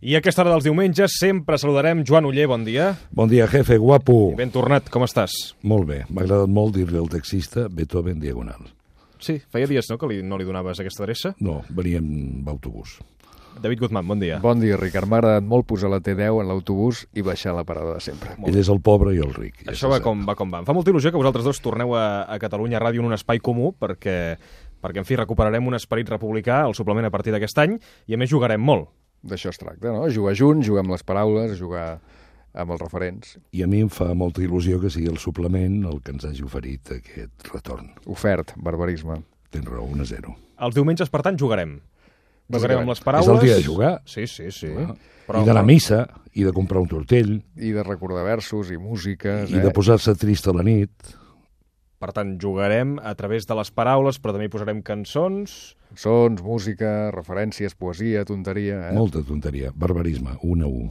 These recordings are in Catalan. I a aquesta hora dels diumenges sempre saludarem Joan Uller, bon dia. Bon dia, jefe, guapo. Ben tornat, com estàs? Molt bé, m'ha agradat molt dir-li al taxista Beethoven Diagonal. Sí, feia dies no, que li, no li donaves aquesta adreça. No, veníem d'autobús. David Guzmán, bon dia. Bon dia, Ricard. M'ha agradat molt posar la T10 en l'autobús i baixar a la parada de sempre. Ell és el pobre i el ric. ja eh? Això se va sap. com, va com va. Em fa molta il·lusió que vosaltres dos torneu a, a Catalunya Ràdio en un espai comú perquè, perquè, en fi, recuperarem un esperit republicà al suplement a partir d'aquest any i, a més, jugarem molt. D'això es tracta, no? Jugar junts, jugar amb les paraules, jugar amb els referents. I a mi em fa molta il·lusió que sigui el suplement el que ens hagi oferit aquest retorn. Ofert, barbarisme. Tens raó, 1 a 0. Els diumenges, per tant, jugarem. Jugarem amb les És paraules. el dia de jugar. Sí, sí, sí. Ah. Però- I d'anar a missa, i de comprar un tortell, I de recordar versos i eh? músiques, i de posar-se trist a la nit. Per tant, jugarem a través de les paraules, però també hi posarem cançons. eh? Sons, música, referències, poesia, tonteria, eh? Molta tonteria, barbarisme, 1 a 1.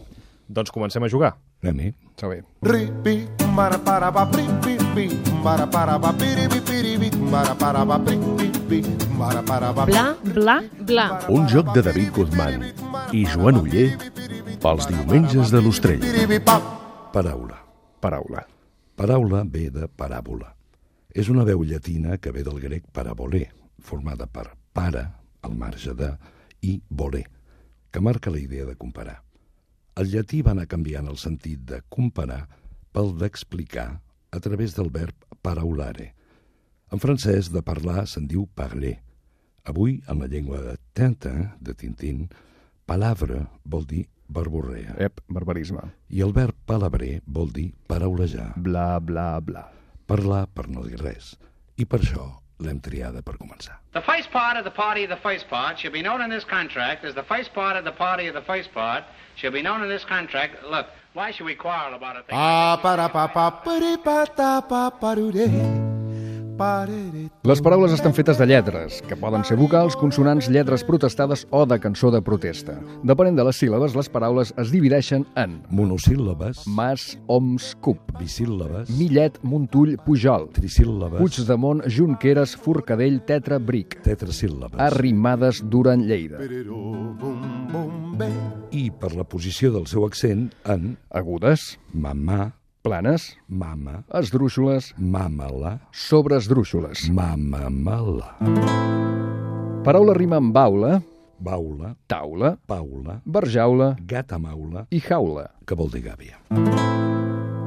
Doncs comencem a jugar. Anem-hi. Està bé. Ripi, para para ba pri pi pi, para para ba piri bi piri bi, para para ba pri pi pi, para para ba Bla, bla, bla. Un joc de David Guzmán i Joan Uller pels diumenges de l'Ostrell. piri bi pa. Paraula. Paraula. Paraula ve de paràbola. És una veu llatina que ve del grec parabolé, formada per para, al marge de, i voler, que marca la idea de comparar. El llatí va anar canviant el sentit de comparar pel d'explicar a través del verb paraulare. En francès, de parlar se'n diu parler. Avui, en la llengua de Tintin, de Tintín, palavra vol dir barborrea Ep, barbarisme. i el verb palabrer vol dir paraulejar Bla, bla, bla. parlar per no dir res. I per això l'hem triada per començar. The face part of the party of the face part should be known in this contract as the face part of the party of the face part should be known in this contract. Look, why should we quarrel about a thing? Pa para pa pa piri pa ta pa parure. Parere. Les paraules estan fetes de lletres, que poden ser vocals, consonants, lletres protestades o de cançó de protesta. Depenent de les síl·labes, les paraules es divideixen en Monosíl·labes, mas, oms, cup, bisíl·labes, millet, montull, pujol, trisíl·labes, Puigdemont, Junqueras, Forcadell, Tetra, Bric. tetrasíl·labes. Arrimades, Duran, Lleida. Perero bum bum be. I per la posició del seu accent en Agudes, mamà, planes, mama, esdrúixoles, mamala, sobreesdrúixoles. mamamala, Paraula rima amb baula, baula, taula, paula, barjaula gatamaula, i jaula. que vol dir gàbia.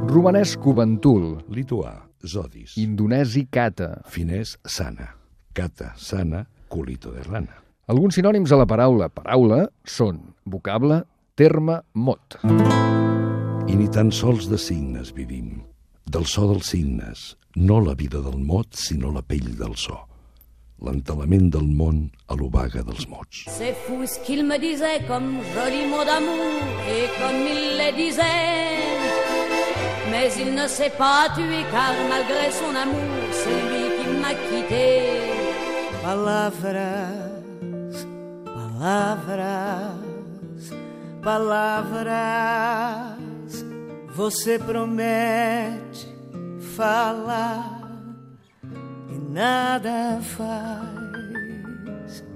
Romanès, cubentul, Lituà, zodis, indonesi, cata. finès, sana, cata, sana, culito de rana. Alguns sinònims a la paraula paraula són vocable, terme, mot. I ni tan sols de signes vivim, del so dels signes, no la vida del mot, sinó la pell del so. L'entelament del món a l'obaga dels mots. C'est fou ce qu'il me disait comme joli mot d'amour et comme il les disait. Mais il ne s'est pas tué car malgré son amour, c'est lui qui m'a quitté. Palavras, palavras, palavras. Você promete falar e nada faz.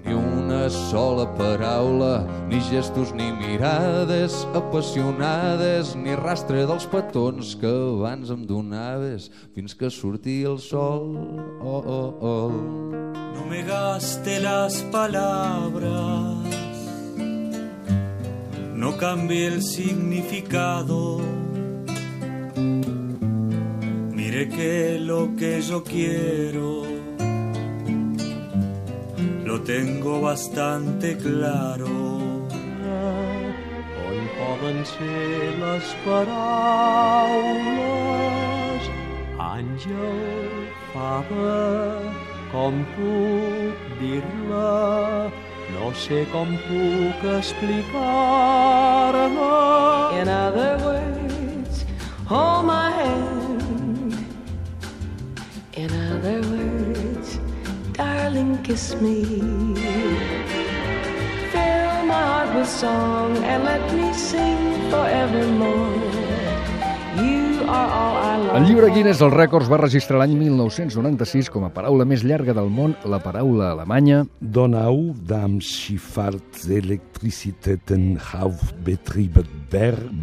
Ni una sola paraula, ni gestos ni mirades apassionades, ni rastre dels petons que abans em donaves fins que sortia el sol. Oh, oh, oh. No me gaste las palabras, no cambie el significado. Mire que lo que yo quiero lo tengo bastante claro. On poden ser les paraules? Àngel, fava, com puc dir-la? No sé com puc explicar-la. In other words, hold my hand. In other words, darling, kiss me. Fill my heart with song and let me sing forevermore. You are all I love. El llibre Guinness dels rècords va registrar l'any 1996 com a paraula més llarga del món la paraula alemanya Donau Darmschifffahrt Elektrizitätenhaufbetriebe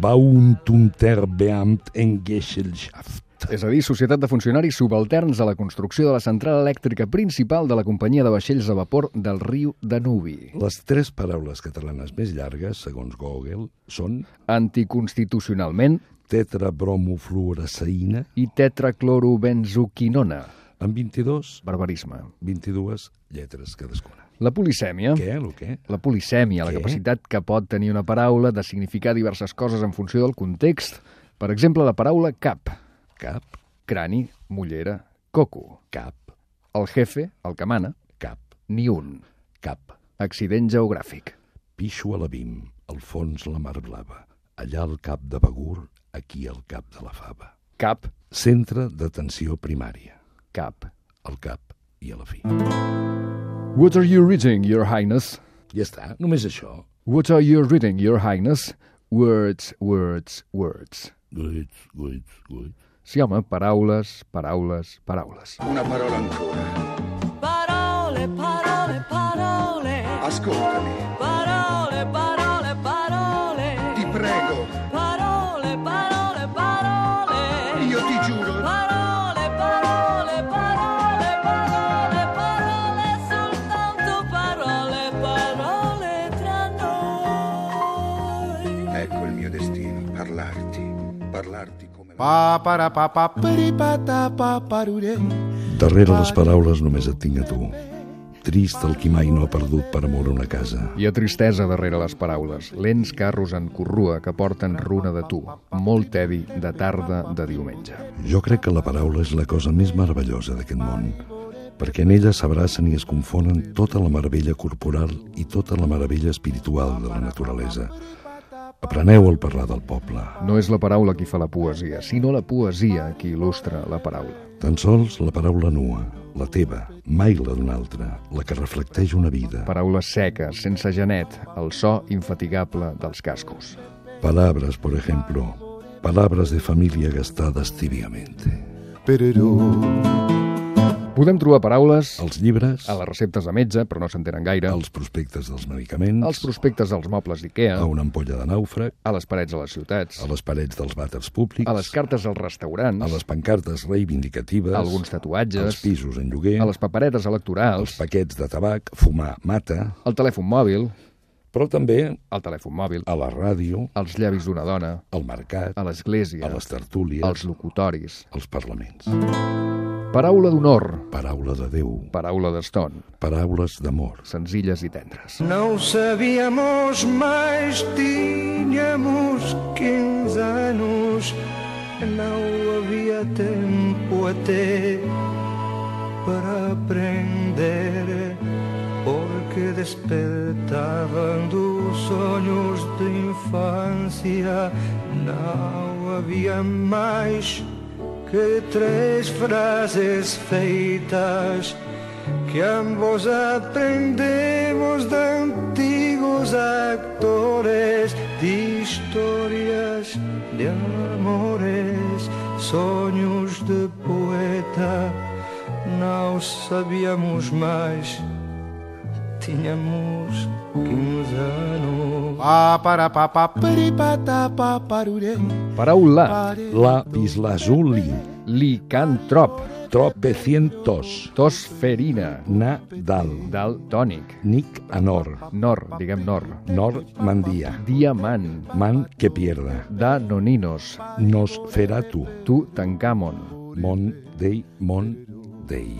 Baumtumterbeamt Engesellschaft. és a dir, Societat de Funcionaris Subalterns a la construcció de la central elèctrica principal de la companyia de vaixells de vapor del riu Danubi. Les tres paraules catalanes més llargues, segons Google, són Anticonstitucionalment tetrabromofluoresceïna i tetraclorobenzoquinona. amb 22, Barbarisme. 22 lletres cadascuna. La polisèmia... Què, el què? La polisèmia, la Què? capacitat que pot tenir una paraula de significar diverses coses en funció del context. Per exemple, la paraula cap, Cap, crani, mullera, coco. cap, El jefe, el que mana, cap, ni un. cap. Accident geogràfic. Pixo a la bim, al fons la mar blava, allà al cap de Begur, aquí al cap de la fava. Cap, Centre d'atenció primària, cap. al cap i a la fi. What are you reading, your highness? Ja està, només això. What are you reading, your highness? Words, words, words. Guits, guits, guits. Sí, home, paraules, paraules, paraules. Una parola ancora. Parole, parole, parole. Ascoltami, Parole, parole, parole. ti prego, Parole, parole, parole. io ti giuro. Parole, parole, parole, parole, parole, soltanto parole, parole tra noi. Ecco il mio destino, parlarti, parlarti come la... Pa para pa pa peripata pa parure. Darrere les paraules només et tinc a tu. Trist el qui mai no ha perdut per amor una casa. Hi ha tristesa darrere les paraules, lents carros en corrua que porten runa de tu, molt tevi de tarda de diumenge. Jo crec que la paraula és la cosa més meravellosa d'aquest món, perquè en ella s'abracen i es confonen tota la meravella corporal i tota la meravella espiritual de la naturalesa. Apreneu el parlar del poble. No és la paraula qui fa la poesia, sinó la poesia qui il·lustra la paraula. Tan sols la paraula nua, la teva, mai la d'un altre, la que reflecteix una vida. Paraules seques, sense genet, el so infatigable dels cascos. Palabras, por ejemplo, palabras de familia gastadas tibiamente. Podem trobar paraules Els llibres, a les receptes de metge, però no s'entenen gaire, els prospectes dels medicaments, als prospectes dels mobles d'IKEA, a una ampolla de nàufrag, a les parets de les ciutats, a les parets dels vàters públics, a les cartes als a restaurants, les pancartes reivindicatives, a alguns als tatuatges, pisos en lloguer, a les paperetes als electorals, paquets de tabac, fumar mata, al telèfon mòbil, però també al telèfon mòbil, a la ràdio, als llavis d'una dona, al mercat, a l'església, a les tertúlies, Ah, als locutoris. als parlaments. Paraula d'honor, Paraula de Déu, paraula d'eston, paraules d'amor. senzilles i tendres. Não sabíamos, mas tínhamos 15 anos. Não havia tempo até para aprender, porque despertavam dos sonhos de infância. Não havia mais que três frases feitas que ambos aprendemos de antigos actores de historias de amores, sonhos de poeta. Não sabíamos mais, tínhamos 15 anos. Pa para pa pa peripata pa parure. Paraula, Lapis lazuli, licantrop, tropecientos, tosferina, nadal, dal tònic, nic anor, nor, diguem nor, nor mandia, diamant, man que pierda, danoninos, nos feratu, tu tancamon, mon dei, mon dei.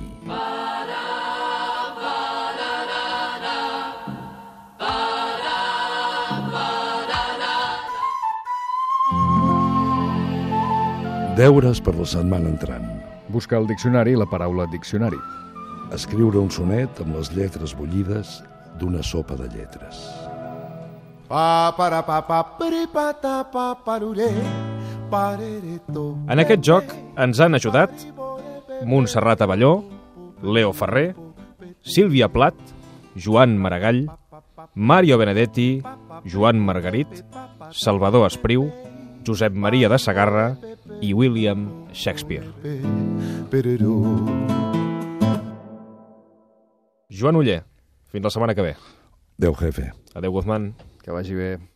Deures per la setmana entrant. Busca al diccionari la paraula diccionari. Escriure un sonet amb les lletres bullides d'una sopa de lletres. Pa para pa pa peripata pa parure. Parereto. En aquest joc ens han ajudat Montserrat Avelló, Leo Ferrer, Sílvia Plat, Joan Maragall, Mario Benedetti, Joan Margarit, Salvador Espriu, Josep Maria de Sagarra i William Shakespeare. Joan Uller, fins la setmana que ve. Adéu, jefe. Adéu, Guzmán. Que vagi bé.